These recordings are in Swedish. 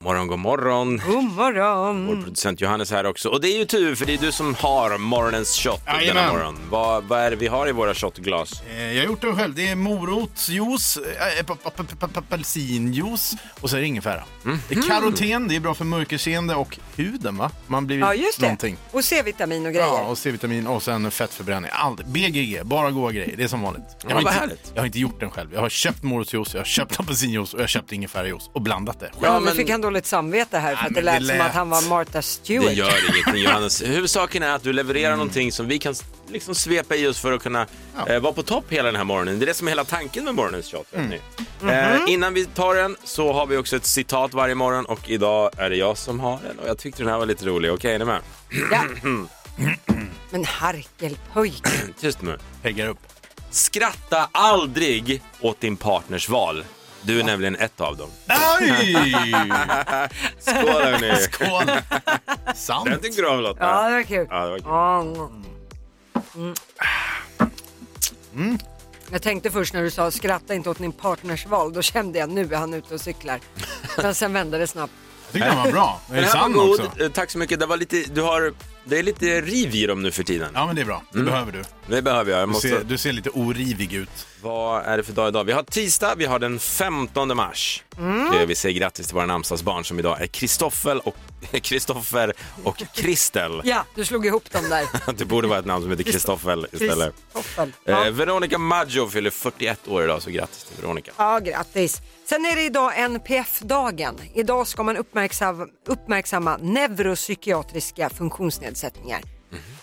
morgon, god morgon. God morgon! Vår producent Johannes här också. Och det är ju tur för det är du som har morgonens shot denna Jajamän. morgon. Vad, vad är det vi har i våra shotglas? Eh, Jag har gjort den själv. Det är morotsjuice, eh, ap- ap- ap- ap- apelsinjuice och så är det ingefära. Mhm. Det är karoten, det är bra för mörkerseende och huden va? Man blir Ja, just det. någonting. Och C-vitamin och grejer. Ja, och C-vitamin och sen fettförbränning. Allt. BGG, bara goda grejer. Det är som vanligt. Jag vad inte, härligt. jag har inte gjort den själv. Jag har köpt morotsjuice, jag har köpt apelsinjuice och jag har köpt ingefärajuice och blandat det. Ja, Ja, nu men- fick han dåligt samvete här för att men det lät, det som lät. att han var Martha Det Stewart. gör ingenting Johannes. Huvudsaken är att du levererar någonting som vi kan s- liksom svepa i oss för att kunna Mm. Ja. eh, vara på topp hela den här morgonen. Det är det som är hela tanken med morgonens shot. vet ni. Mm. Mm-hmm. Eh, innan vi tar den så har vi också ett citat varje morgon och idag är det jag som har den och jag tyckte den här var lite rolig. Okej, är ni med? Ja. Men harkelpojk. Tyst nu. Peggar upp. Skratta aldrig åt din partners val. Du är nämligen ett av dem. Aj! Skål hörni! Skål! Sant. Den tyckte du om Lotta? Ja, det var kul. Ja, det var kul. Ja, mm. Mm. Jag tänkte först när du sa skratta inte åt din partners val, då kände jag nu är han ute och cyklar. Men sen vände det snabbt. Jag tyckte den var bra. Den är Den här sann var god. också. Eh, Tack så mycket. Det, var lite, du har, det är lite riv i dem nu för tiden. Ja, men det är bra. Mm. Det behöver du. Det behöver jag. jag Du måste... ser, du ser lite orivig ut. Vad är det för dag idag? Vi har tisdag, vi har den 15 mars. Mm. Eh, Vi säger grattis till våra namnsdagsbarn som idag är Kristoffer och, Kristoffer och Kristel. Ja, du slog ihop dem där. Det borde vara ett namn som heter Kristoffer istället. Kristoffer. Eh, Ja. Veronica Maggio fyller 41 år idag, så grattis till Veronica. Ja, grattis. Sen är det idag NPF-dagen. Idag ska man uppmärksamma, uppmärksamma neuropsykiatriska funktionsnedsättningar.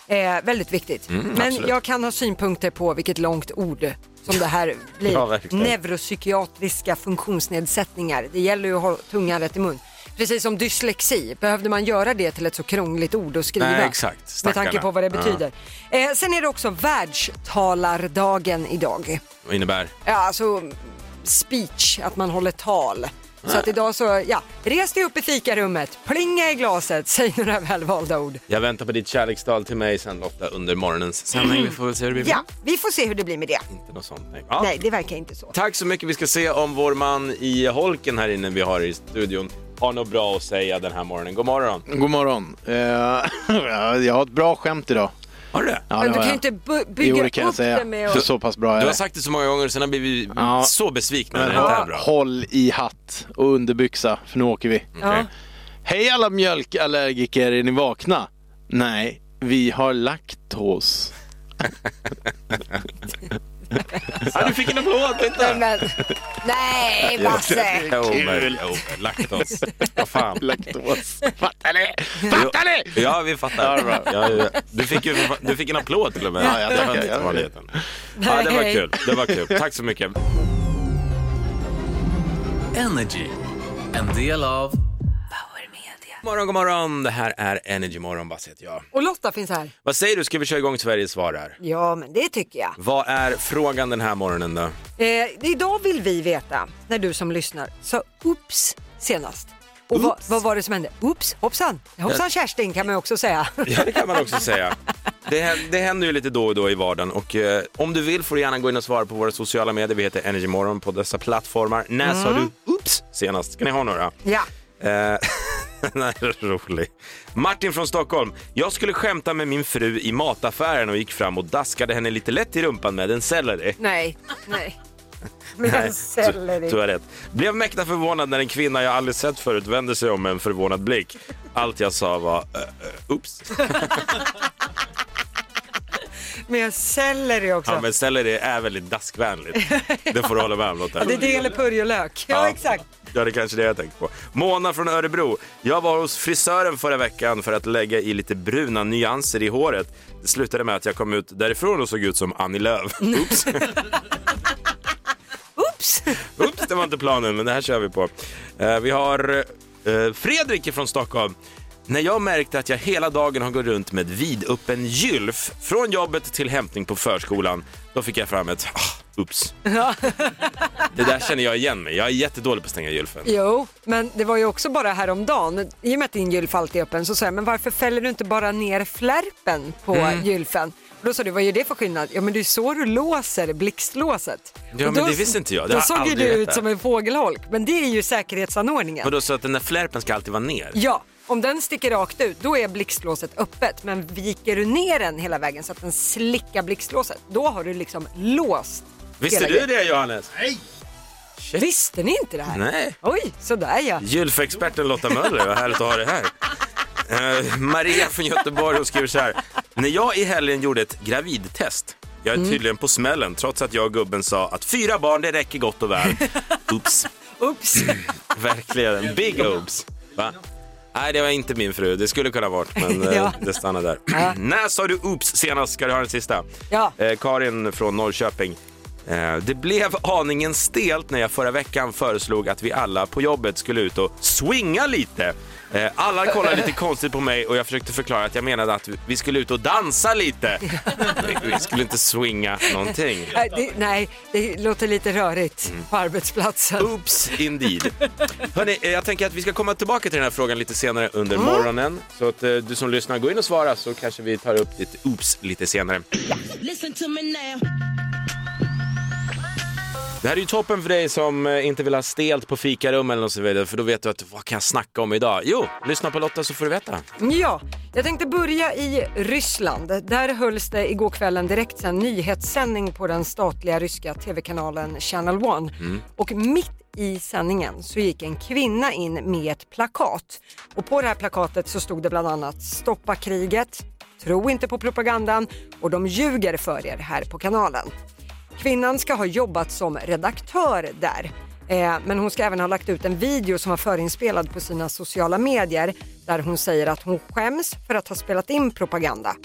Eh, väldigt viktigt. Men Mhm. Mm, absolut. jag kan ha synpunkter på vilket långt ord som det här blir. Ja, verkligen. neuropsykiatriska funktionsnedsättningar. Det gäller ju att ha tungan rätt i mun. Precis som dyslexi, behövde man göra det till ett så krångligt ord att skriva? Nej, exakt. Med Stackarna. tanke på vad det betyder. Eh, sen är det också världstalardagen idag. Vad innebär? Ja, alltså speech, att man håller tal. Så att idag så, ja, res dig upp i fikarummet, plinga i glaset, säg några välvalda ord. Mm. Jag väntar på ditt kärlekstal till mig sen Lotta under morgonens sändning. Vi får väl se hur det blir. Ja, vi får se hur det blir med det. Inte något sånt. Nej. Ja. Nej, det verkar inte så. Tack så mycket. Vi ska se om vår man i holken här inne vi har i studion har något bra att säga den här morgonen. God morgon. God morgon. Eh, jag har ett bra skämt idag. Har du det? Ja, Men det du har kan ju jag. inte bu- Jo, bygga det kan jag upp det säga. med Så, att... så pass bra är Du det. har sagt det så många gånger sen har blivit Ja. så besviken när Men det inte är hå- bra. Mm. håll i hatt och underbyxa, för nu åker vi. Ja. Hej alla mjölkallergiker, är ni vakna? Nej, vi har laktos. Ja, du fick en applåd Nej, Britta! men... Nej, Basse! Jo, men- jo, men Laktos. Vad fan. Laktos. Fattar ni? Fattar ni? Ja, vi fattar. Ja, det är bra. Ja, ja. Du, fick ju, du fick en applåd till och med. Ja, jag Det var tackar, inte jag- vanligheten. Ja, det var Nej. kul. Det var kul. Tack så mycket. Energy. En del av God morgon, god morgon. Det här är Energy Morgon, Basse heter jag. Och Lotta finns här. Vad säger du, ska vi köra igång Sveriges svar här? Ja, men det tycker jag. Vad är frågan den här morgonen då? Eh, idag vill vi veta, när du som lyssnar sa oops senast. Och vad, vad var det som hände? Oops, hoppsan! Hoppsan Kerstin kan man ju också säga. Ja, det kan man också säga. Det, hä- det händer ju lite då och då i vardagen och eh, om du vill får du gärna gå in och svara på våra sociala medier. Vi heter Energymorgon på dessa plattformar. När sa du oops senast? Ska ni ha några? ja. Eh, Den här är rolig. Martin från Stockholm. Jag skulle skämta med min fru i mataffären och gick fram och daskade henne lite lätt i rumpan med en selleri. Nej, nej. Med en Du, selleri. du har rätt. Blev mäkta förvånad när en kvinna jag aldrig sett förut vände sig om med en förvånad blick. Allt jag sa var eh, eh, oops. Med selleri också. Ja, men selleri är väldigt daskvänligt. Det får du hålla med om Lotta. Det är det eller purjolök. Ja, exakt. Ja, det är kanske det jag tänker på. Mona från Örebro. Jag var hos frisören förra veckan för att lägga i lite bruna nyanser i håret. Det slutade med att jag kom ut därifrån och såg ut som Annie Lööf. Oops. Oops! Oops, det var inte planen, men det här kör vi på. Eh, vi har eh, Fredrik från Stockholm. När jag märkte att jag hela dagen har gått runt med vidöppen gylf från jobbet till hämtning på förskolan, då fick jag fram ett ah, Oops. det där känner jag igen mig. Jag är jättedålig på att stänga gylfen. Jo, men det var ju också bara häromdagen. I och med att din gylf alltid är öppen så sa jag, men varför fäller du inte bara ner flärpen på Mm. gylfen? Och då sa du, vad gör det för skillnad? Ja men det är så du låser blixtlåset. Ja, Och men då- det visste inte jag. Det Då har jag såg ju aldrig du ut vetat. som en fågelholk, men det är ju säkerhetsanordningen. Och då så att den där flärpen ska alltid vara ner? Ja, om den sticker rakt ut då är blixtlåset öppet men viker du ner den hela vägen så att den slickar blixtlåset då har du liksom låst Visste hela du det grejen. Johannes? Visste ni inte det här? Nej. Oj, sådär ja. Gylfexperten Lotta Möller, vad härligt att ha dig här. Eh, Maria från Göteborg hon skriver så här. När jag i helgen gjorde ett gravidtest, jag är tydligen på smällen trots att jag och gubben sa att fyra barn det räcker gott och väl. Oops, Ups. verkligen. Big oops. Va? Nej, det var inte min fru. Det skulle kunna varit, men eh, Ja. det stannar där. När sa du oops senast? Ska du ha den sista? Ja. Eh, Karin från Norrköping. Eh, det blev aningen stelt när jag förra veckan föreslog att vi alla på jobbet skulle ut och swinga lite. Eh, alla kollade lite konstigt på mig och jag försökte förklara att jag menade att vi skulle ut och dansa lite. Vi- Vi skulle inte swinga någonting. Nej, det, nej, det låter lite rörigt Mm. på arbetsplatsen. Oops, indeed. Hörrni, eh, jag tänker att vi ska komma tillbaka till den här frågan lite senare under morgonen. Så att eh, du som lyssnar, gå in och svara så kanske vi tar upp ditt oops lite senare. Det här är ju toppen för dig som eh, inte vill ha stelt på fikarum eller något så vidare, för då vet du att vad kan jag snacka om idag? Jo, lyssna på Lotta så får du veta. Ja, jag tänkte börja i Ryssland. Där hölls det igår kväll en direktsänd nyhetssändning på den statliga ryska tv-kanalen Channel One. Och mitt i sändningen så gick en kvinna in med ett plakat. Och på det här plakatet så stod det bland annat “Stoppa kriget”, “Tro inte på propagandan” och “De ljuger för er här på kanalen”. Kvinnan ska ha jobbat som redaktör där. Eh, Men hon ska även ha lagt ut en video som var förinspelad på sina sociala medier där hon säger att hon skäms för att ha spelat in propaganda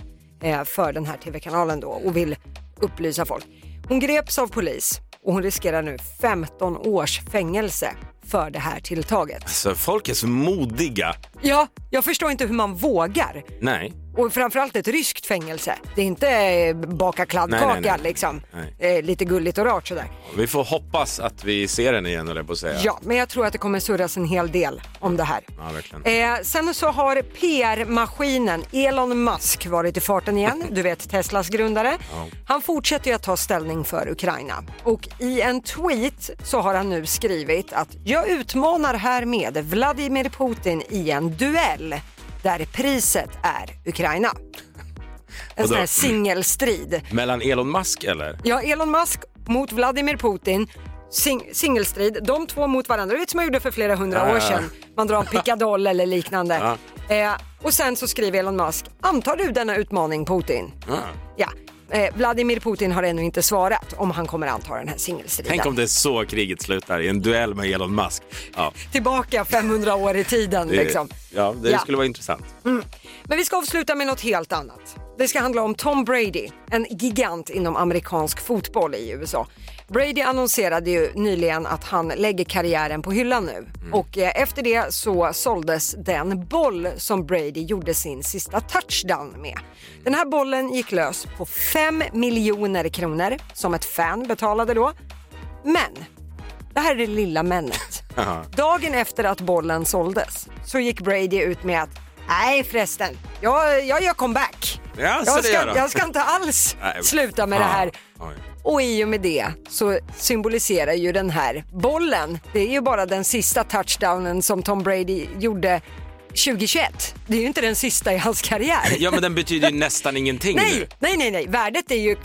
eh, för den här tv-kanalen då och vill upplysa folk. Hon greps av polis och hon riskerar nu 15 års fängelse för det här tilltaget. Så folk är så modiga. Ja, jag förstår inte hur man vågar. Nej. Och framförallt ett ryskt fängelse. Det är inte eh, baka kladdkaka Nej, nej, nej. liksom. Nej. Eh, Lite gulligt och rart sådär. Vi får hoppas att vi ser den igen, höll jag på att säga. Ja, men jag tror att det kommer surras en hel del om det här. Ja, verkligen. Eh, sen så har PR-maskinen Elon Musk varit i farten igen, du vet Teslas grundare. Han fortsätter ju att ta ställning för Ukraina och i en tweet så har han nu skrivit att jag utmanar härmed Vladimir Putin i en duell där priset är Ukraina. En Och sån här då- singelstrid. Mellan Elon Musk eller? Ja, Elon Musk mot Vladimir Putin. Sing- singelstrid, de två mot varandra. Det är som man gjorde för flera hundra Ja, år ja, ja. sedan. Man drar en pickadoll eller liknande. Eh, och sen så skriver Elon Musk, antar du denna utmaning Putin? Ja. Eh, Vladimir Putin har ännu inte svarat om han kommer anta den här singelstriden. Tänk om det är så kriget slutar, i en duell med Elon Musk. Ja, Tillbaka 500 år i tiden det, liksom. ja, det Ja. skulle vara intressant. Men vi ska avsluta med något helt annat. Det ska handla om Tom Brady, en gigant inom amerikansk fotboll i USA. Brady annonserade ju nyligen att han lägger karriären på hyllan nu och eh, efter det så såldes den boll som Brady gjorde sin sista touchdown med. Den här bollen gick lös på 5 miljoner kronor som ett fan betalade då. Men det här är det lilla männet. Dagen efter att bollen såldes så gick Brady ut med att nej förresten, jag, jag gör comeback. Ja, så jag, det ska, gör han." jag ska inte alls Nej. sluta med det här. Ja, oj. Och i och med det så symboliserar ju den här bollen, det är ju bara den sista touchdownen som Tom Brady gjorde 2021. Det är ju inte den sista i hans karriär. Ja, men den betyder ju nästan ingenting Nej, nu. nej, nej, nej, värdet är ju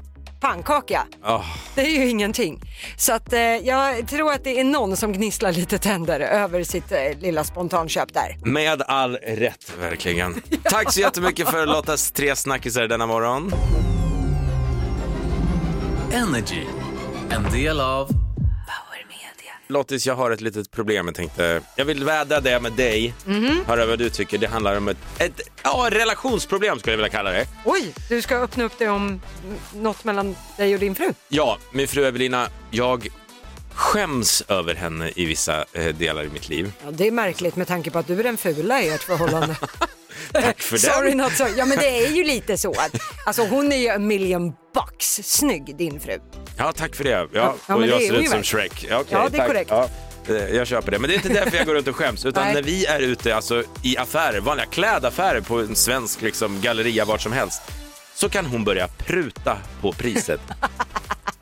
pannkaka. Ah, Det är ju ingenting. Så att, eh, jag tror att det är någon som gnisslar lite tänder över sitt eh, lilla spontanköp där. med all rätt, verkligen. Tack så jättemycket för Lottas tre snackisar denna morgon. Energy. En del av Lottis, jag har ett litet problem. Jag tänkte, jag vill vädra det med dig. Mhm. Höra vad du tycker. Det handlar om ett, ett ja, relationsproblem skulle jag vilja kalla det. Oj, du ska öppna upp det om mm, något mellan dig och din fru. Ja, min fru Evelina, jag skäms över henne i vissa eh, delar i mitt liv. Ja, det är märkligt med tanke på att du är den fula i ert förhållande. Tack för den. Sorry not sorry. Ja men det är ju lite så att, alltså hon är ju a million bucks snygg din fru. Ja, tack för det. Ja, Ja, men och det jag är ser ut hon ju som verkligen. Shrek. Ja, okej, Ja, det är tack. korrekt. Ja, eh, jag köper det. Men det är inte därför jag går runt och skäms. Utan Nej. när vi är ute alltså, i affärer, vanliga klädaffärer på en svensk liksom, galleria vart som helst, så kan hon börja pruta på priset.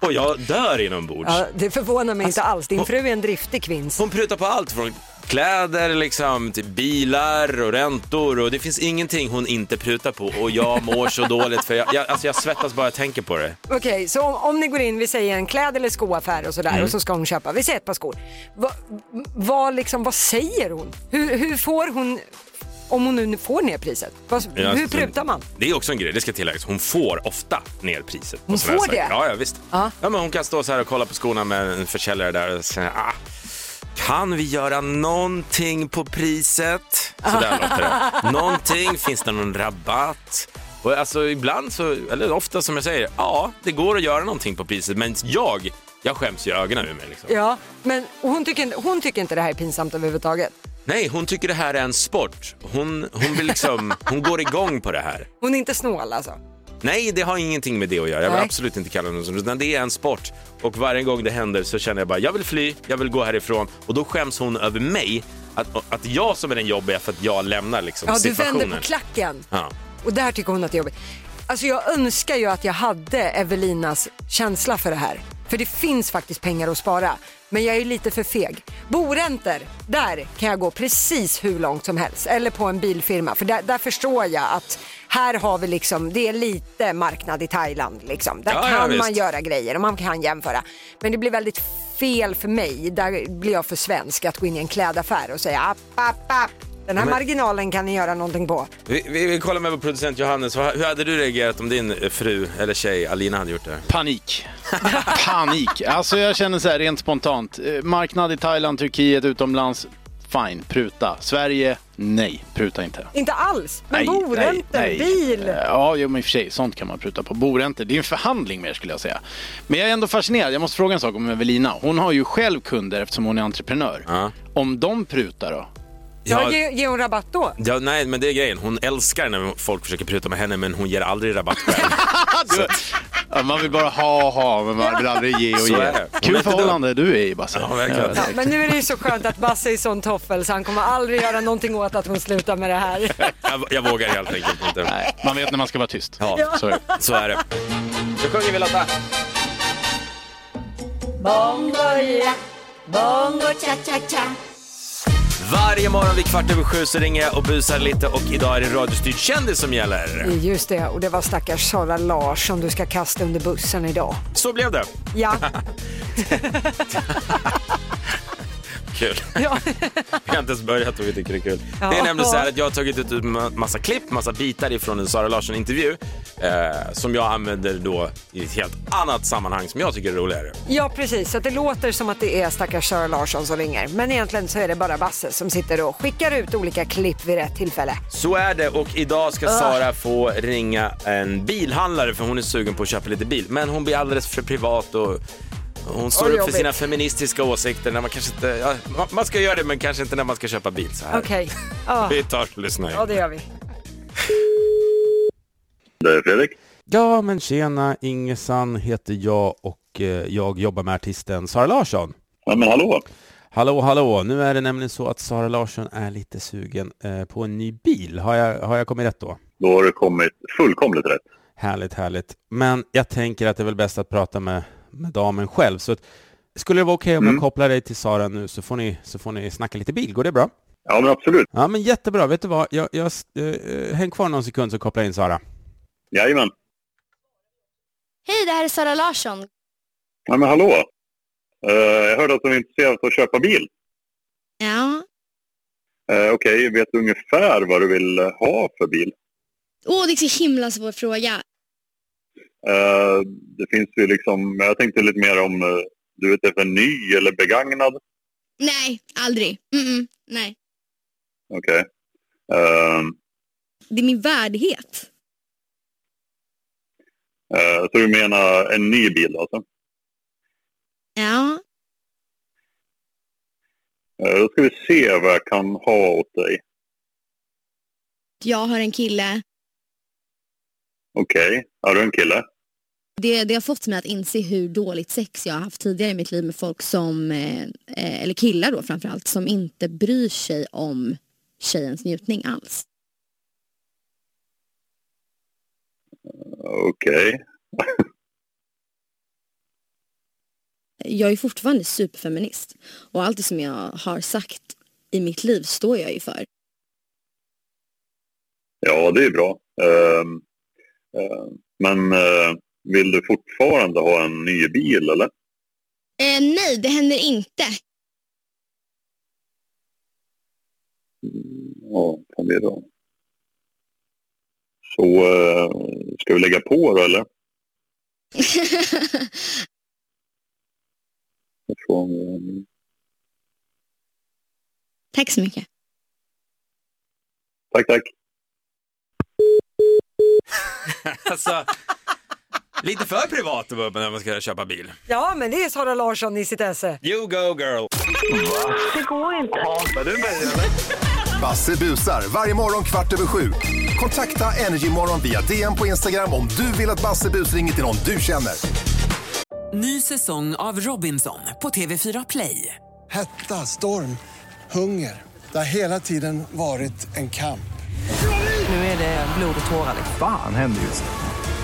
och jag dör inombords. Ja, det förvånar mig inte alls, din fru är en driftig kvinns. Hon prutar på allt från kläder liksom, till bilar och räntor och det finns ingenting hon inte prutar på och jag mår så dåligt för jag, jag, alltså jag svettas bara jag tänker på det. Okej, så om, om ni går in, vi säger en kläd eller skoaffär och sådär Mm. och så ska hon köpa, vi säger ett par skor. Va, vad liksom, vad säger hon? Hur, hur får hon, om hon nu får ner priset, vad, Ja, alltså- hur så- prutar man? Det är också en grej, det ska tilläggas. Hon får ofta ner priset. på Hon såna här får saker. det? Ja, ja visst. Ja. men hon kan stå så här och kolla på skorna med en försäljare där och säga ah, kan vi göra någonting på priset? Så där låter det. Någonting, finns det någon rabatt? Och alltså ibland så, eller ofta som jag säger, ja det går att göra någonting på priset men jag, jag skäms ju ögonen ur mig. Liksom. Ja, men hon tycker, inte- hon tycker inte det här är pinsamt överhuvudtaget. Nej, hon tycker det här är en sport. Hon, hon, vill liksom, hon går igång på det här. Hon är inte snål alltså. Nej, det har ingenting med det att göra. Jag vill Nej. absolut inte kalla det som utan det är en sport. Och varje gång det händer så känner jag bara, jag vill fly, jag vill gå härifrån. Och då skäms hon över mig, att, att jag som är den jobbiga för att jag lämnar liksom, Ja, du situationen. vänder på klacken. Ja. Och där tycker hon att det är jobbigt. Alltså jag önskar ju att jag hade Evelinas känsla för det här. För det finns faktiskt pengar att spara. Men jag är ju lite för feg. Boräntor, där kan jag gå precis hur långt som helst. Eller på en bilfirma. För där, där förstår jag att här har vi liksom, det är lite marknad i Thailand liksom. Där Ja, ja, kan visst. man göra grejer och man kan jämföra. Men det blir väldigt fel för mig, där blir jag för svensk, att gå in i en klädaffär och säga app, app, app. Den här marginalen kan ni göra någonting på. Vi, vi, vi kollar med vår producent Johannes, Vad- hur hade du reagerat om din eh, fru eller tjej Alina hade gjort det? Panik. Panik. Alltså jag känner så här rent spontant. Eh, Marknad i Thailand, Turkiet, utomlands. Fine, pruta. Sverige, nej, pruta inte. Inte alls. Men boräntor, Eh, bil. Ja, jo, men i och för sig, sånt kan man pruta på. Boräntor, det är en förhandling mer skulle jag säga. Men jag är ändå fascinerad, jag måste fråga en sak om Evelina. Hon har ju själv kunder eftersom hon är entreprenör. Ja. Om de prutar då? Ja, ge, ge hon rabatt då. Ja, nej, men det är grejen. Hon älskar när folk försöker pruta med henne, men hon ger aldrig rabatt själv. Du, ja, man vill bara ha och ha, men man vill aldrig ge och Så ge. är det. Hon är Kul inte förhållande du är i, Basse. Ja, verkligen. Ja, men nu är det ju så skönt att Basse är sån toffel så han kommer aldrig göra någonting åt att hon slutar med det här. Jag, jag vågar helt enkelt inte. Nej, man vet när man ska vara tyst. Ja. Så är det. Så är det. Nu sjunger vi Lotta. Varje morgon vid kvart över sju så ringer jag och busar lite och idag är det radiostyrd kändis som gäller. Just det, och det var stackars Sara Larsson som du ska kasta under bussen idag. Så blev det. Ja, Kul. ja. Vi har inte ens börjat och vi tycker det är kul. Ja. Det är nämligen så här att jag har tagit ut en ma- massa klipp, massa bitar ifrån en Sara Larsson-intervju eh, som jag använder då i ett helt annat sammanhang som jag tycker är roligare. ja precis. Så att det låter som att det är stackars Sara Larsson som ringer. Men egentligen så är det bara Basse som sitter och skickar ut olika klipp vid rätt tillfälle. Så är det och idag ska Sara få ringa en bilhandlare för hon är sugen på att köpa lite bil. Men hon blir alldeles för privat och hon står Och upp för jobbigt. sina feministiska åsikter när man kanske inte, ja, ma- man ska göra det men kanske inte när man ska köpa bil så här. Okej, ja, Vi tar och lyssnar. ja Ja, det gör vi. Det är Fredrik. ja men tjena, Ingesan heter jag och eh, jag jobbar med artisten Sara Larsson. Ja, men hallå. Hallå, hallå, nu är det nämligen så att Sara Larsson är lite sugen eh, på en ny bil. Har jag, har jag kommit rätt då? Då har du kommit fullkomligt rätt. Härligt, härligt. Men jag tänker att det är väl bäst att prata med, med damen själv. Så att, skulle det vara okej om jag kopplar dig till Sara nu så får, ni, så får ni snacka lite bil. Går det bra? Ja, men absolut. Ja, men jättebra. Vet du vad? Jag, jag, eh, häng kvar någon sekund så kopplar jag in Sara. Jajamän. Hej, det här är Sara Larsson. Ja, men hallå. Eh, jag hörde att du är intresserad av att köpa bil. Ja. Eh, Okej, vet du ungefär vad du vill eh, ha för bil? Åh, det är så himla svår fråga. Eh, det finns ju liksom, jag tänkte lite mer om eh, du är ute för ny eller begagnad. Nej, aldrig. Mm-mm, nej. Okej. Eh, Det är min värdighet. eh, så du menar en ny bil alltså? Ja. Eh, då ska vi se vad jag kan ha åt dig. jag har en kille. Okej, har du en kille? Det, det har fått mig att inse hur dåligt sex jag har haft tidigare i mitt liv med folk som, eh, eh, eller killar då framförallt, som inte bryr sig om tjejens njutning alls. Okej. Jag är fortfarande superfeminist och allt det som jag har sagt i mitt liv står jag ju för. Ja, det är bra. Ehm, ehm, men eh, vill du fortfarande ha en ny bil eller? Eh, nej, det händer inte. Ja, kan det är bra. Så eh, ska vi lägga på då eller? Jag får en- Tack så mycket. Tack, tack. Alltså, lite för privat när man ska köpa bil. Ja, men det är Sara Larsson i sitt esse. You go girl! Det går inte. Basse busar varje morgon kvart över sju. Kontakta Energymorgon via DM på Instagram om du vill att Basse bus ringer till någon du känner. Ny säsong av Robinson på TV4 Play. Hetta, storm, hunger. Det har hela tiden varit en kamp. Nu är det blod och tårar. liksom. Fan händer just det.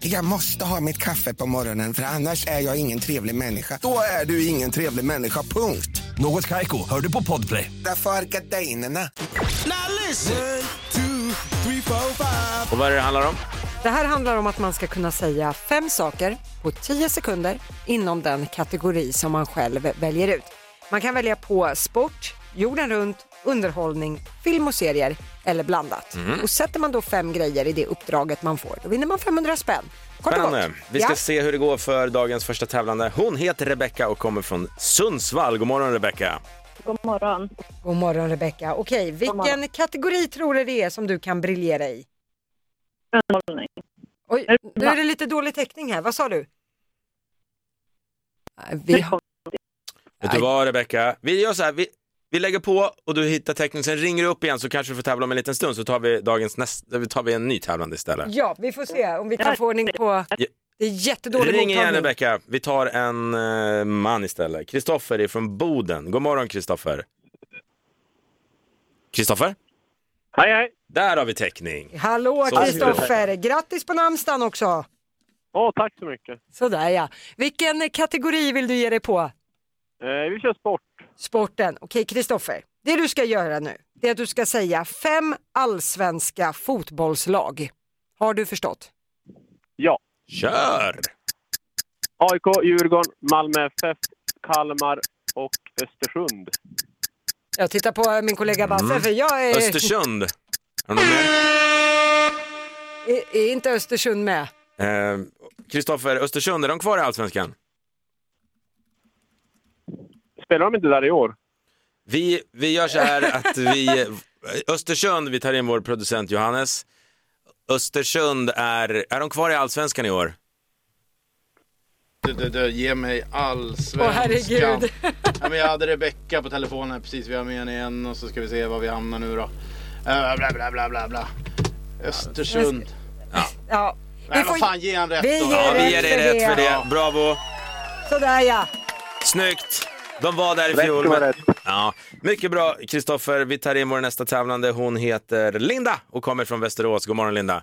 Jag måste ha mitt kaffe på morgonen för annars är jag ingen trevlig människa. Då är du ingen trevlig människa, punkt. Något Kaiko, hör du på Podplay. Därför är gardinerna. Och vad är det det handlar om? Det här handlar om att man ska kunna säga fem saker på tio sekunder inom den kategori som man själv väljer ut. Man kan välja på sport, jorden runt, underhållning, film och serier eller blandat. Mm. Och sätter man då fem grejer i det uppdraget man får, då vinner man 500 spänn. Kort och Spännande. gott. eh, Vi ska Ja. se hur det går för dagens första tävlande. Hon heter Rebecka och kommer från Sundsvall. God morgon Rebecka! God morgon. God morgon Rebecka. Okej, vilken kategori tror du det är som du kan briljera i? Underhållning. Oj, nu är det lite dålig täckning här. Vad sa du? Nej, Vi har... Vet du vad Rebecka? Vi gör så här, vi, vi lägger på och du hittar teckningen, sen ringer du upp igen så kanske du får tävla om en liten stund så tar vi dagens nästa, tar vi en ny tävlande istället. Ja, vi får se om vi kan få ordning på... Ja. Det är jättedålig Ring igen mottagning. Rebecka, vi tar en eh, man istället. Kristoffer är från Boden. God morgon Kristoffer. Kristoffer? Hej hej! Där har vi täckning. Hallå Så Kristoffer! Grattis på namnsdagen också! Ja, tack så mycket. Sådär ja. Vilken kategori vill du ge dig på? Eh, vi kör sport. Sporten. Okej Kristoffer, det du ska göra nu det är att du ska säga fem allsvenska fotbollslag. Har du förstått? Ja. Kör! AIK, Djurgården, Malmö FF, Kalmar och Östersund. Jag tittar på eh, min kollega Basse Mm. för jag är... Östersund. Är det någon mer? Är, är inte Östersund med? Eh, Kristoffer, Östersund, är de kvar i Allsvenskan? Spelar de inte där i år? Vi, vi gör så här att vi, Östersund, vi tar in vår producent Johannes. Östersund är, är de kvar i Allsvenskan i år? Du, du, du, ge mig all svenska. Åh, herregud. ja, men jag hade Rebecka på telefonen här precis. Vi har med henne igen och så ska vi se var vi hamnar nu då. Uh, bla, bla, bla, bla, bla. Östersund. Ja. Nej, vad fan, ge han rätt vi då. ger Ja, vi rätt ger för dig rätt för Ja. det. Bravo! Sådär ja. Snyggt! De var där i Rätt fjol. var men- Ja, mycket bra, Kristoffer. Vi tar in vår nästa tävlande. Hon heter Linda och kommer från Västerås. God morgon, Linda.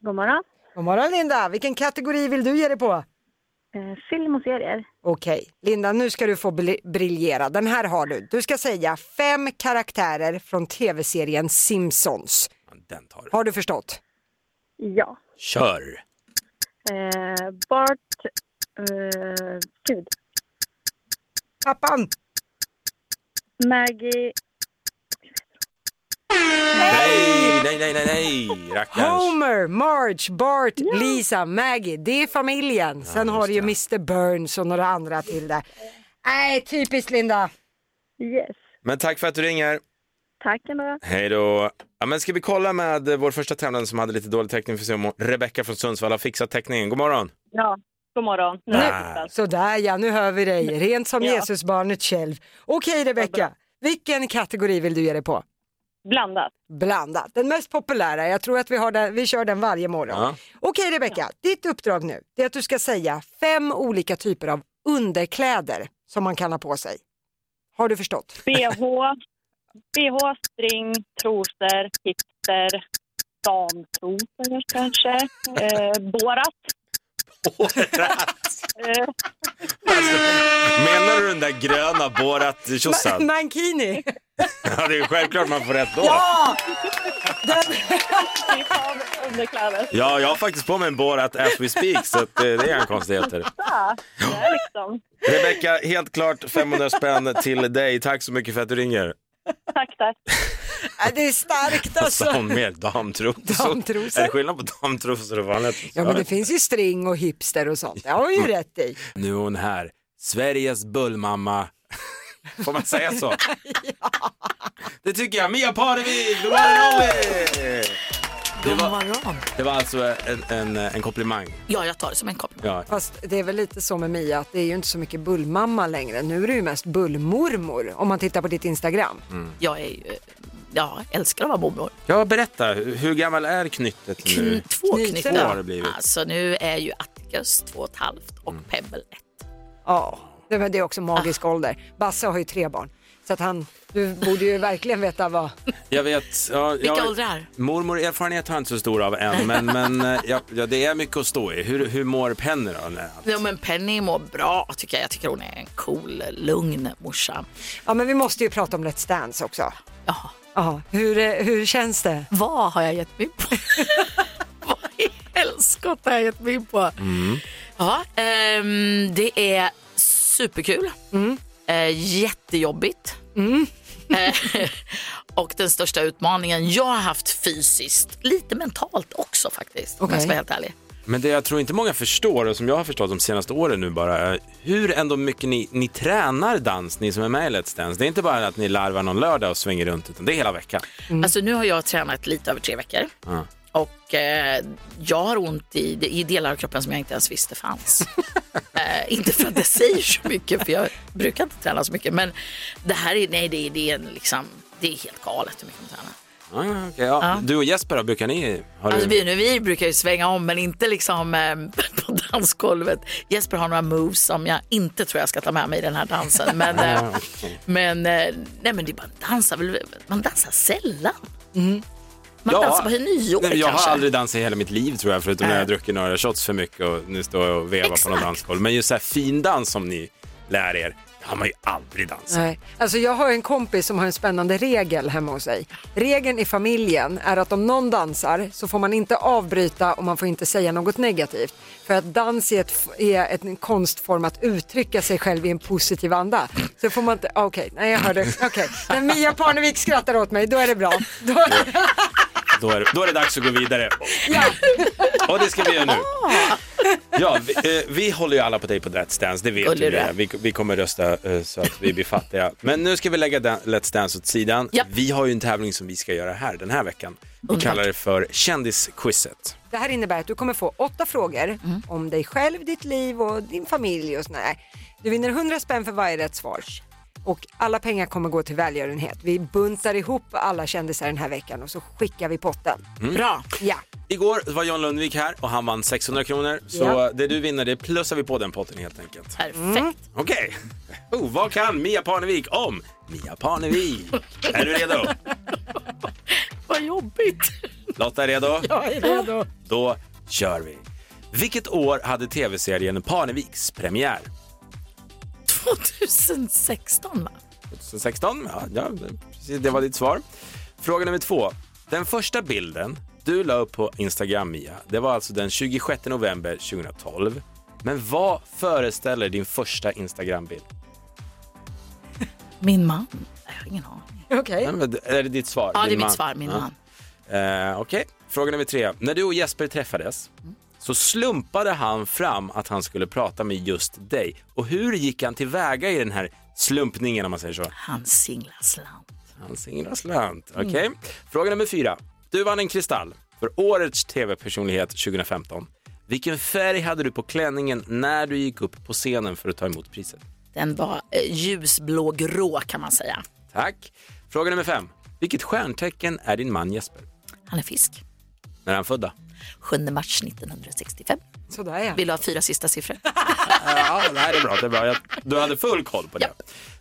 God morgon. God morgon Linda. Vilken kategori vill du ge dig på? Eh, film och serier. Okej, Linda nu ska du få bli- briljera. Den här har du. Du ska säga fem karaktärer från tv-serien Simpsons. Den tar Har du förstått? Ja. Kör! Eh, Bart... Eh, gud. Pappan! Maggie... Hej! nej, nej, nej, nej, rackarns. Homer, Marge, Bart, Lisa, Maggie. Det är familjen. Sen har du ju Mr Burns och några andra till där. Nej, typiskt Linda. Yes. Men tack för att du ringer. Tack ändå. Hej då. Ja, men ska vi kolla med eh, vår första tävlande som hade lite dålig täckning för att se om Rebecka från Sundsvall har fixat täckningen. God morgon. Ja, god morgon. Nu. Ah. Sådär ja, nu hör vi dig. Rent som Jesusbarnet själv. Okej Rebecka, vilken kategori vill du ge dig på? Blandat. Blandat, den mest populära. Jag tror att vi, har den, vi kör den varje morgon. Ja. Okej Rebecka, ditt uppdrag nu det är att du ska säga fem olika typer av underkläder som man kan ha på sig. Har du förstått? BH, BH, string, trosor, hipster, damtrosor kanske. Eh, borat. Eh, Menar du den där gröna Borat-tjossan? Mankini! Ja, det är självklart man får rätt då. Ja! Vi tar underkläder. Ja, jag har faktiskt på mig en Borat as we speak, så att, eh, det är en konstigheter. Så, det är liksom. Rebecka, helt klart 500 spänn till dig. Tack så mycket för att du ringer. Tack, tack. Ja, det är starkt alltså. Alltså, hon mer damtrosor. Damtrosor. Är det skillnad på damtrosor och vanliga trosor? Ja men det finns ju string och hipster och sånt. Det har hon ju rätt i. Nu är hon här, Sveriges bullmamma. Får man säga så? Det tycker jag. Mia Parnevik, god morgon Robin! Det var, det var alltså en, en, en komplimang. Ja, jag tar det som en komplimang. Ja. Fast det är väl lite så med Mia att det är ju inte så mycket bullmamma längre. Nu är det ju mest bullmormor om man tittar på ditt Instagram. Jag är ju, eh, ja, älskar att vara mormor. Ja, berätta. Hur gammal är knyttet nu? Två Två knyttar. har det blivit. Mm. Alltså nu är ju Atticus två och ett halvt och Pebble ett. Ja, det, men det är också magisk ålder. Basse har ju tre barn. Så att han, du borde ju verkligen veta vad... Jag vet. Ja, Vilka jag, åldrar? Mormor erfarenhet har jag inte så stor av än, men, men eh, ja, ja, det är mycket att stå i. Hur, hur mår Penny då? Nej. Ja, men Penny mår bra tycker jag. Jag tycker hon är en cool, lugn morsa. Ja men vi måste ju prata om Let's Dance också. Ja. ja. Hur, eh, hur känns det? Vad har jag gett mig på? Helskotta har jag gett mig in på. Ja, ehm, det är superkul. Eh, jättejobbigt. Eh, och den största utmaningen jag har haft fysiskt, lite mentalt också faktiskt, om jag ska vara helt ärlig. Men det jag tror inte många förstår, och som jag har förstått de senaste åren nu bara, är hur ändå mycket ni, ni tränar dans, ni som är med i Let's Dance. Det är inte bara att ni larvar någon lördag och svänger runt, utan det är hela veckan. Alltså nu har jag tränat lite över tre veckor. Mm. Ja. Och eh, jag har ont i, i delar av kroppen som jag inte ens visste fanns. eh, inte för att det säger så mycket, för jag brukar inte träna så mycket. Men det här är, nej, det, är- det, är en liksom, det är helt galet hur mycket man tränar. Ja, ja, okej, ja. Ja. Du och Jesper, då, brukar ni... Har Alltså, du... vi, nu, vi brukar ju svänga om, men inte liksom eh, på dansgolvet. Jesper har några moves som jag inte tror jag ska ta med mig i den här dansen. Men, eh, Ja, okej. men, eh, nej, men det är bara dansar väl, man dansar sällan. Man Mm. Ja. dansar på nyår Nej, men jag kanske. har aldrig dansat i hela mitt liv tror jag, förutom när jag druckit några shots för mycket och nu står jag och vevar på någon dansgolv. Men just så här fin dans som ni lär er, det har man ju aldrig dansat. Nej. Alltså jag har en kompis som har en spännande regel hemma hos sig. Regeln i familjen är att om någon dansar så får man inte avbryta och man får inte säga något negativt. För att dans är, ett, är ett, en konstform att uttrycka sig själv i en positiv anda. Så får man inte, ah, okej, nej jag hörde, okej. När Mia Parnevik skrattar åt mig, då är det bra. Då, Då är, då är det dags att gå vidare. ja. Och det ska vi göra nu. Ah. Ja, vi, eh, vi håller ju alla på dig på Let's Dance, det vet Håller du. du? Vi, vi kommer rösta eh, så att vi blir fattiga. Men nu ska vi lägga dan- Let's Dance åt sidan. Ja. Vi har ju en tävling som vi ska göra här den här veckan. Vi Underbart. kallar det för Kändisquizet. Det här innebär att du kommer få åtta frågor om dig själv, ditt liv och din familj och sådär. Du vinner 100 spänn för varje rätt svar. Och alla pengar kommer gå till välgörenhet. Vi buntar ihop alla kändisar den här veckan och så skickar vi potten. Mm. Bra! Ja, Igår var John Lundvik här och han vann 600 kronor. Så Ja. det du vinner, det plussar vi på den potten helt enkelt. Mm. Perfekt. Okej. Oh, vad kan Mia Parnevik om Mia Parnevik? är du redo? Vad jobbigt. Lotta är redo? Jag är redo. Då kör vi. Vilket år hade tv-serien Parneviks premiär? 2016 va? 2016? Ja, ja precis, det var ditt svar. Fråga nummer två. Den första bilden du la upp på Instagram, Mia, det var alltså den 26 november 2012. Men vad föreställer din första Instagram-bild? Min man? Nej, Jag har ingen aning. Okej. Nej, men Är det ditt svar? Ja, det Din är mitt man? svar, min Ja. man. Eh, Okej, fråga nummer tre. När du och Jesper träffades så slumpade han fram att han skulle prata med just dig. Och hur gick han tillväga i den här slumpningen om man säger så? Han singlar slant. Han singlar slant. Okej. Fråga nummer fyra. Du vann en kristall för årets tv-personlighet 2015. Vilken färg hade du på klänningen när du gick upp på scenen för att ta emot priset? Den var eh, ljusblågrå kan man säga. Tack. Fråga nummer fem. Vilket stjärntecken är din man Jesper? Han är fisk. När är han födda? 7 mars 1965. Sådär ja. Vill du ha fyra sista siffror? Ja, det här är bra. Det är bra. Jag, du hade full koll på det.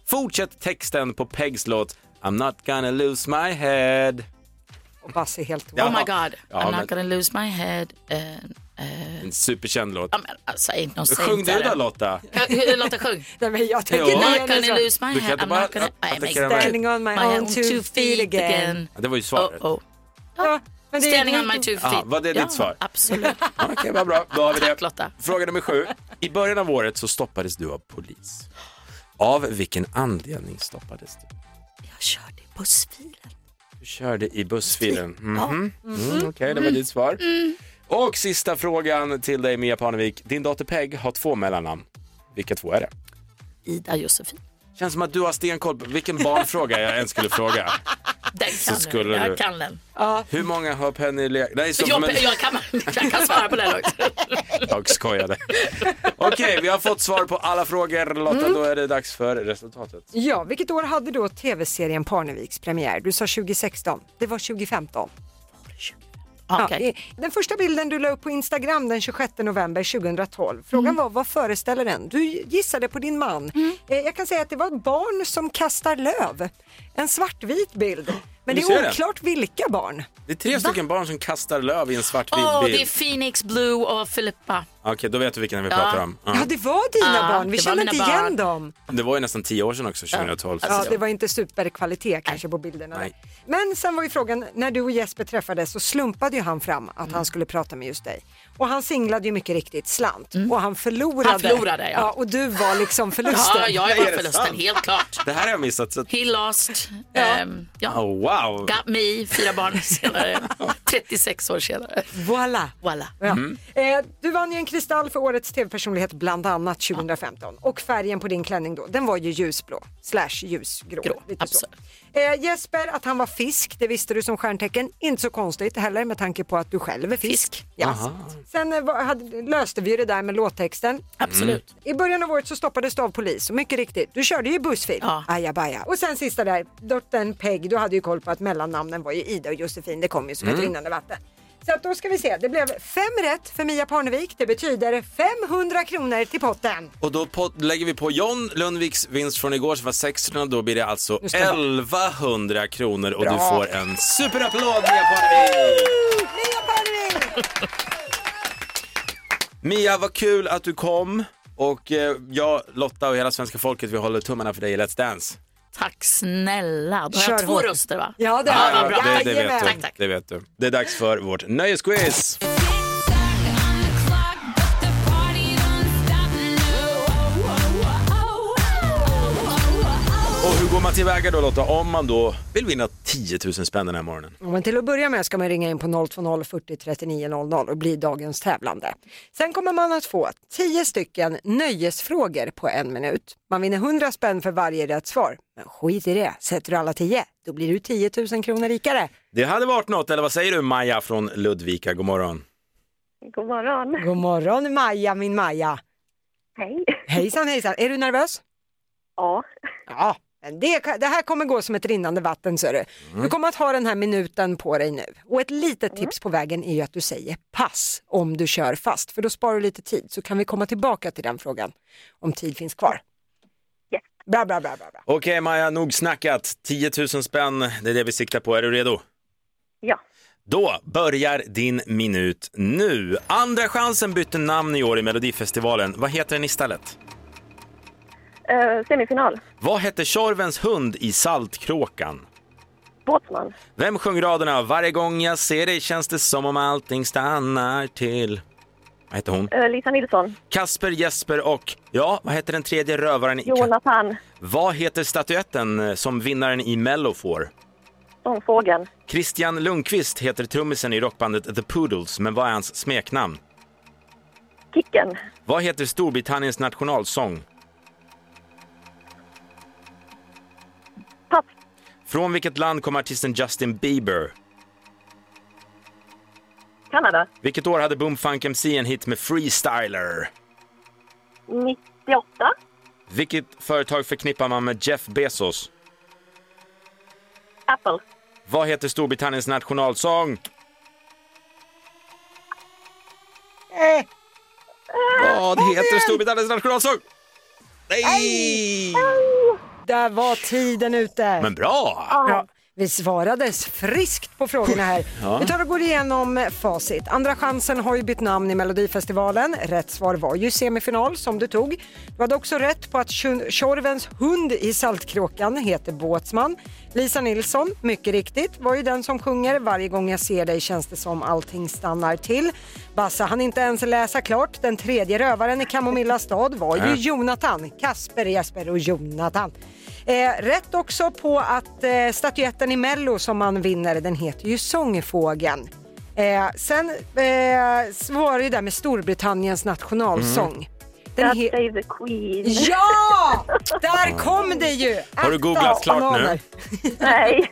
Fortsätt texten på Pegs låt I'm not gonna lose my head. Och Basse är helt Oh my god, Ja, I'm men- not gonna lose my head. eh, eh, En superkänd låt. Ja, men alltså, ain't no Sjung du saint då där. Lotta. Kan- Lotta sjung. Nej, men jag tänker- Jo. I'm not Nej, gonna nej, lose my du kan head. inte I'm bara not gonna... attackera mig. Standing on my own two feet again. Ja, Det var ju svaret. Oh, oh. Ja, men det är Standing ju- on my two feet. Aha, var det Ah, ditt ja, svar? Absolut. Ja, Okej, vad bra. Då har vi det. Fråga nummer sju. I början av året så stoppades du av polis. Av vilken anledning stoppades du? Jag körde i bussfilen. Du körde i bussfilen. Mhm. Ja. Mm, Okej, det var Mm. ditt svar. Mm. Och sista frågan till dig Mia Parnevik. Din dotter Peg har två mellannamn. Vilka två är det? Ida Josefin. Känns som att du har stenkoll på vilken barnfråga jag än skulle fråga. Den kan skulle den. du- Jag kan den. Hur många har Penny Lea... Nej, så, jag, men... jag, kan, jag kan svara på den också. jag skojade. Okej, vi har fått svar på alla frågor. Lotta, Mm. då är det dags för resultatet. Ja, vilket år hade då tv-serien Parneviks premiär? Du sa 2016, det var 2015. Ja, Ah, Okej. i- den första bilden du la upp på Instagram den 26 november 2012. Frågan Mm. var vad föreställer den? Du gissade på din man. Eh, Jag kan säga att det var ett barn som kastar löv. En svartvit bild. Men Du det ser den. är oklart vilka barn. Det är tre stycken barn som kastar löv i en svartvit Åh, bil. det är Phoenix Blue och Filippa. Okej, då vet du vilken vi Ja. pratar om. Ja. Ja, det var dina Ah, barn. Vi det var kände mina inte barn. igen dem. Det var ju nästan tio år sedan också, 2012. Alltså, Ja, det var inte superkvalitet kanske på bilderna. Nej. Men sen var ju frågan, när du och Jesper träffades så slumpade ju han fram att Mm. han skulle prata med just dig. Och han singlade ju mycket riktigt slant och han förlorade. Mm. Han förlorade, ja. och du var liksom förlusten. Ja, jag Är var det förlusten, sant? helt klart. Det här har jag missat. Så... att- He lost. Ehm, ja. Oh, wow! Got me, fyra barn senare. 36 år senare. Voila! Voila. Ja. Eh, du vann ju en kristall för årets tv-personlighet bland annat 2015 och färgen på din klänning då, den var ju ljusblå slash ljusgrå. Grå, lite så. Eh, Jesper, att han var fisk, det visste du som stjärntecken. Inte så konstigt heller med tanke på att du själv är fisk. Ja. Aha. Sen eh, var- hade, löste vi ju det där med låttexten. Mm. Absolut. I början av året så stoppades du av polis och mycket riktigt, du körde ju bussfil. Ja. Ajabaja. Och sen sista där, dottern Peg, du hade ju koll på att mellannamnen var ju Ida och Josefin, det kom ju som ett Mm. rinnande vatten. Så att då ska vi se, det blev fem rätt för Mia Parnevik, det betyder 500 kronor till Mm. potten. Och då på, lägger vi på John Lundviks vinst från igår som var 600. Då blir det alltså Nu ska jag vara- 1100 kronor och du Bra. får en superapplåd Mia Parnevik! Mia Parnevik! Mia, vad kul att du kom. Och eh, jag, Lotta och hela svenska folket, vi håller tummarna för dig i Let's Dance. Tack snälla. Då har Kör jag två hårt. röster va? Ja, det har jag. Ja, det, det, vet Jajamän. du. Tack, tack. det vet du. Det är dags för vårt nöjesquiz. Och hur går man tillväga då Lotta, om man då vill vinna 10 000 spänn den här morgonen? Ja, Men till att börja med ska man ringa in på 020 40 39 00 och bli dagens tävlande. Sen kommer man att få 10 stycken nöjesfrågor på en minut. Man vinner 100 spänn för varje rätt svar. Men skit i det, sätter du alla 10 då blir du 10 000 kronor rikare. Det hade varit något, eller vad säger du Maja från Ludvika? God morgon. God morgon. God morgon Maja, min Maja. Hej. Hejsan hejsan, är du nervös? Ja. Ja, men det, det här kommer gå som ett rinnande vatten ser du. Du kommer att ha den här minuten på dig nu. Och ett litet tips på vägen är ju att du säger pass om du kör fast, för då sparar du lite tid så kan vi komma tillbaka till den frågan om tid finns kvar. Bra, bra, bra, bra, bra. Okej Maja, nog snackat. 10 000 spänn, det är det vi siktar på. Är du redo? Ja. Då börjar din minut nu. Andra chansen bytte namn i år i Melodifestivalen. Vad heter den istället? Eh, semifinal. Vad hette Tjorvens hund i Saltkråkan? Båtsman. Vem sjöng raderna “Varje gång jag ser dig känns det som om allting stannar till”? Vad hette hon? Eh, Lisa Nilsson. Kasper, Jesper och, ja, vad hette den tredje rövaren? i- Jonathan. eh, Vad heter statyetten som vinnaren i Mello får? Sångfågeln. Christian Lundqvist heter trummisen i rockbandet The Poodles, men vad är hans smeknamn? Kicken. Vad heter Storbritanniens nationalsång? Pass. Från vilket land kom artisten Justin Bieber? Kanada. Vilket år hade Boomfunk MC en hit med Freestyler? 98. Vilket företag förknippar man med Jeff Bezos? Apple. Vad heter Storbritanniens nationalsång? Vad heter Storbritanniens nationalsång? Nej! Där var tiden ute. Men bra! Ja, vi svarades friskt på frågorna här. Ja. Vi tar och går igenom facit. Andra chansen har ju bytt namn i Melodifestivalen. Rätt svar var ju semifinal som du tog. Du hade också rätt på att Tjur- Tjorvens hund i Saltkråkan heter Båtsman. Lisa Nilsson, mycket riktigt, var ju den som sjunger Varje gång jag ser dig känns det som allting stannar till. Bassa han inte ens läsa klart. Den tredje rövaren i Kamomilla stad var ju Nej. Jonathan. Kasper, Jesper och Jonathan. Eh, rätt också på att eh, statyetten i Mello som man vinner, den heter ju Sångfågeln. Eh, sen eh, så var det ju där med Storbritanniens nationalsång. Mm. Den God he- save the Queen. Ja! Där kom det ju! Har du Akta googlat oss, klart bananer. nu? Nej.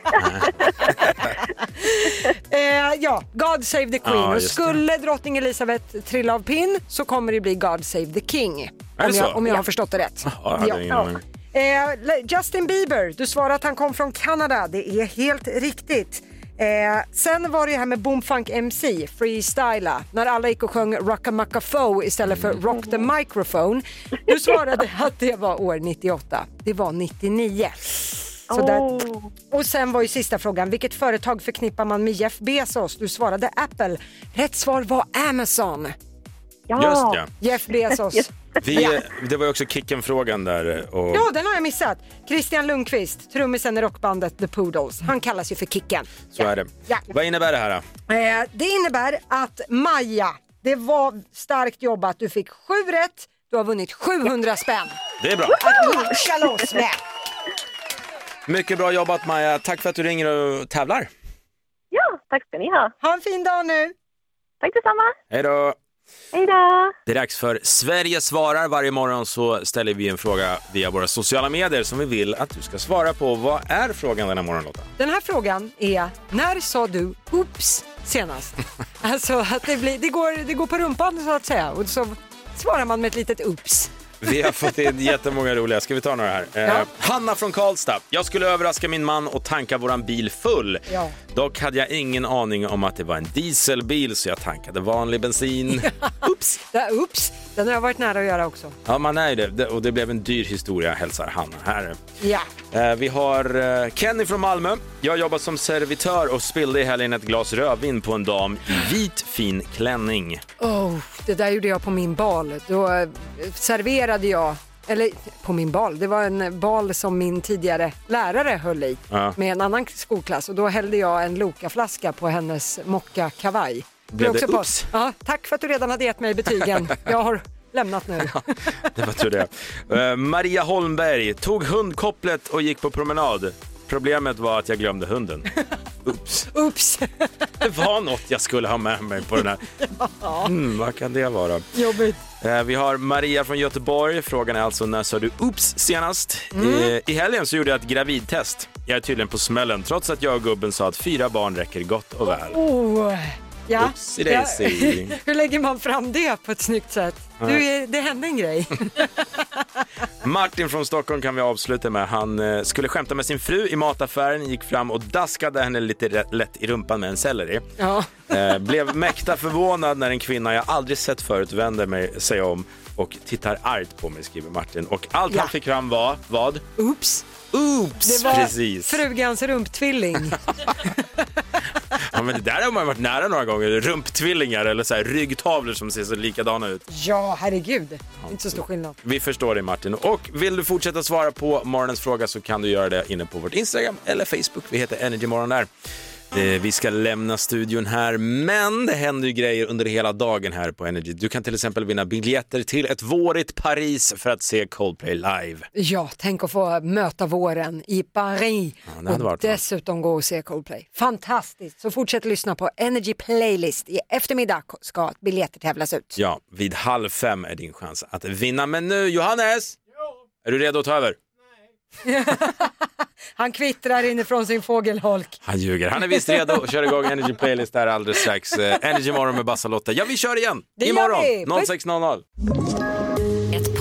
Eh, ja, God save the Queen. Ja, och just det. skulle drottning Elizabeth trilla av pinn så kommer det bli God save the King. det Om jag, så? om jag har Ja. förstått det rätt. Ja, jag hade ingen aning. Eh, Le- Justin Bieber, du svarade att han kom från Kanada. Det är helt riktigt. Eh, sen var det ju här med Boomfunk MC, Freestyla, när alla gick och sjöng Rockamackafoe istället för Mm. Rock the Microphone. Du svarade att det var år 98. Det var 99. Så där. Oh. Och sen var ju sista frågan, vilket företag förknippar man med Jeff Bezos? Du svarade Apple. Rätt svar var Amazon. Just ja. Jeff Bezos. Vi, det var ju också Kicken-frågan där. Och... Ja, den har jag missat. Christian Lundqvist, trummisen i rockbandet The Poodles. Han kallas ju för Kicken. Så är det. Ja. Vad innebär det här då? Eh, det innebär att Maja, det var starkt jobbat. Du fick sju rätt. Du har vunnit 700 spänn Det är bra. att lirka loss med. Mycket bra jobbat Maja. Tack för att du ringer och tävlar. Ja, tack ska ni ha. Ha en fin dag nu. Tack detsamma. Hej då. Hej då. Det är dags för Sverige svarar. Varje morgon så ställer vi en fråga via våra sociala medier som vi vill att du ska svara på. Vad är frågan den här morgonen Lotta? Den här frågan är, när sa du oops senast? alltså att det, blir, det, går, det går på rumpan så att säga och så svarar man med ett litet oops. Vi har fått in jättemånga roliga. Ska vi ta några här? Eh, Hanna från Karlstad. Jag skulle överraska min man och tanka våran bil full. Ja. Dock hade jag ingen aning om att det var en dieselbil så jag tankade vanlig bensin. oops. Det, oops, den har jag varit nära att göra också. Ja, man är ju det. det. Och det blev en dyr historia, hälsar Hanna här. Ja. Eh, Vi har eh, Kenny från Malmö. Jag jobbar som servitör och spillde i helgen ett glas rödvin på en dam i vit fin klänning. Oh, det där gjorde jag på min bal. Då eh, serverade jag, eller på min bal, det var en bal som min tidigare lärare höll i Ja. med en annan skolklass och då hällde jag en Loka-flaska på hennes mocka-kavaj. Blev är det på- ups? Ja, tack för att du redan hade gett mig betygen. Jag har lämnat nu. Det var tur det. Eh, Maria Holmberg tog hundkopplet och gick på promenad. Problemet var att jag glömde hunden. Oops. Oops! Det var något jag skulle ha med mig på den här. Mm, vad kan det vara? Jobbigt. Eh, Vi har Maria från Göteborg. Frågan är alltså när sa du oops senast? Mm. Eh, I helgen så gjorde jag ett gravidtest. Jag är tydligen på smällen trots att jag och gubben sa att fyra barn räcker gott och väl. Oh, ja. Oopsie daisy. Ja. Hur lägger man fram det på ett snyggt sätt? Du, är- det hände en grej. Martin från Stockholm kan vi avsluta med. Han eh, skulle skämta med sin fru i mataffären, gick fram och daskade henne lite rä- lätt i rumpan med en selleri. Ja. Eh, Blev mäkta förvånad när en kvinna jag aldrig sett förut vänder mig, sig om och tittar argt på mig, skriver Martin. Och allt han fick fram var vad? Oops! Oops! Det var Precis. frugans rumptvilling. Ja, men det där har man varit nära några gånger. Rumptvillingar eller så här ryggtavlor som ser så likadana ut. Ja, herregud. Inte så stor skillnad. Vi förstår dig Martin. Och vill du fortsätta svara på morgonens fråga så kan du göra det inne på vårt Instagram eller Facebook. Vi heter Energymorgon där. Eh, Vi ska lämna studion här, men det händer ju grejer under hela dagen här på Energy. Du kan till exempel vinna biljetter till ett vårigt Paris för att se Coldplay live. Ja, tänk att få möta våren i Paris det hade och varit bra. dessutom gå och se Coldplay. Fantastiskt! Så fortsätt lyssna på Energy Playlist. I eftermiddag ska biljetter tävlas ut. Ja, vid halv fem är din chans att vinna. Men nu, Johannes! Är du redo att ta över? Han kvittrar inifrån sin fågelholk. Han ljuger. Han är visst redo och kör igång Energy Playlist där alldeles strax. Eh, Energy Morgon med Bassa-Lotta. Ja, vi kör igen! Det gör vi. Imorgon Puss. 06.00. Ett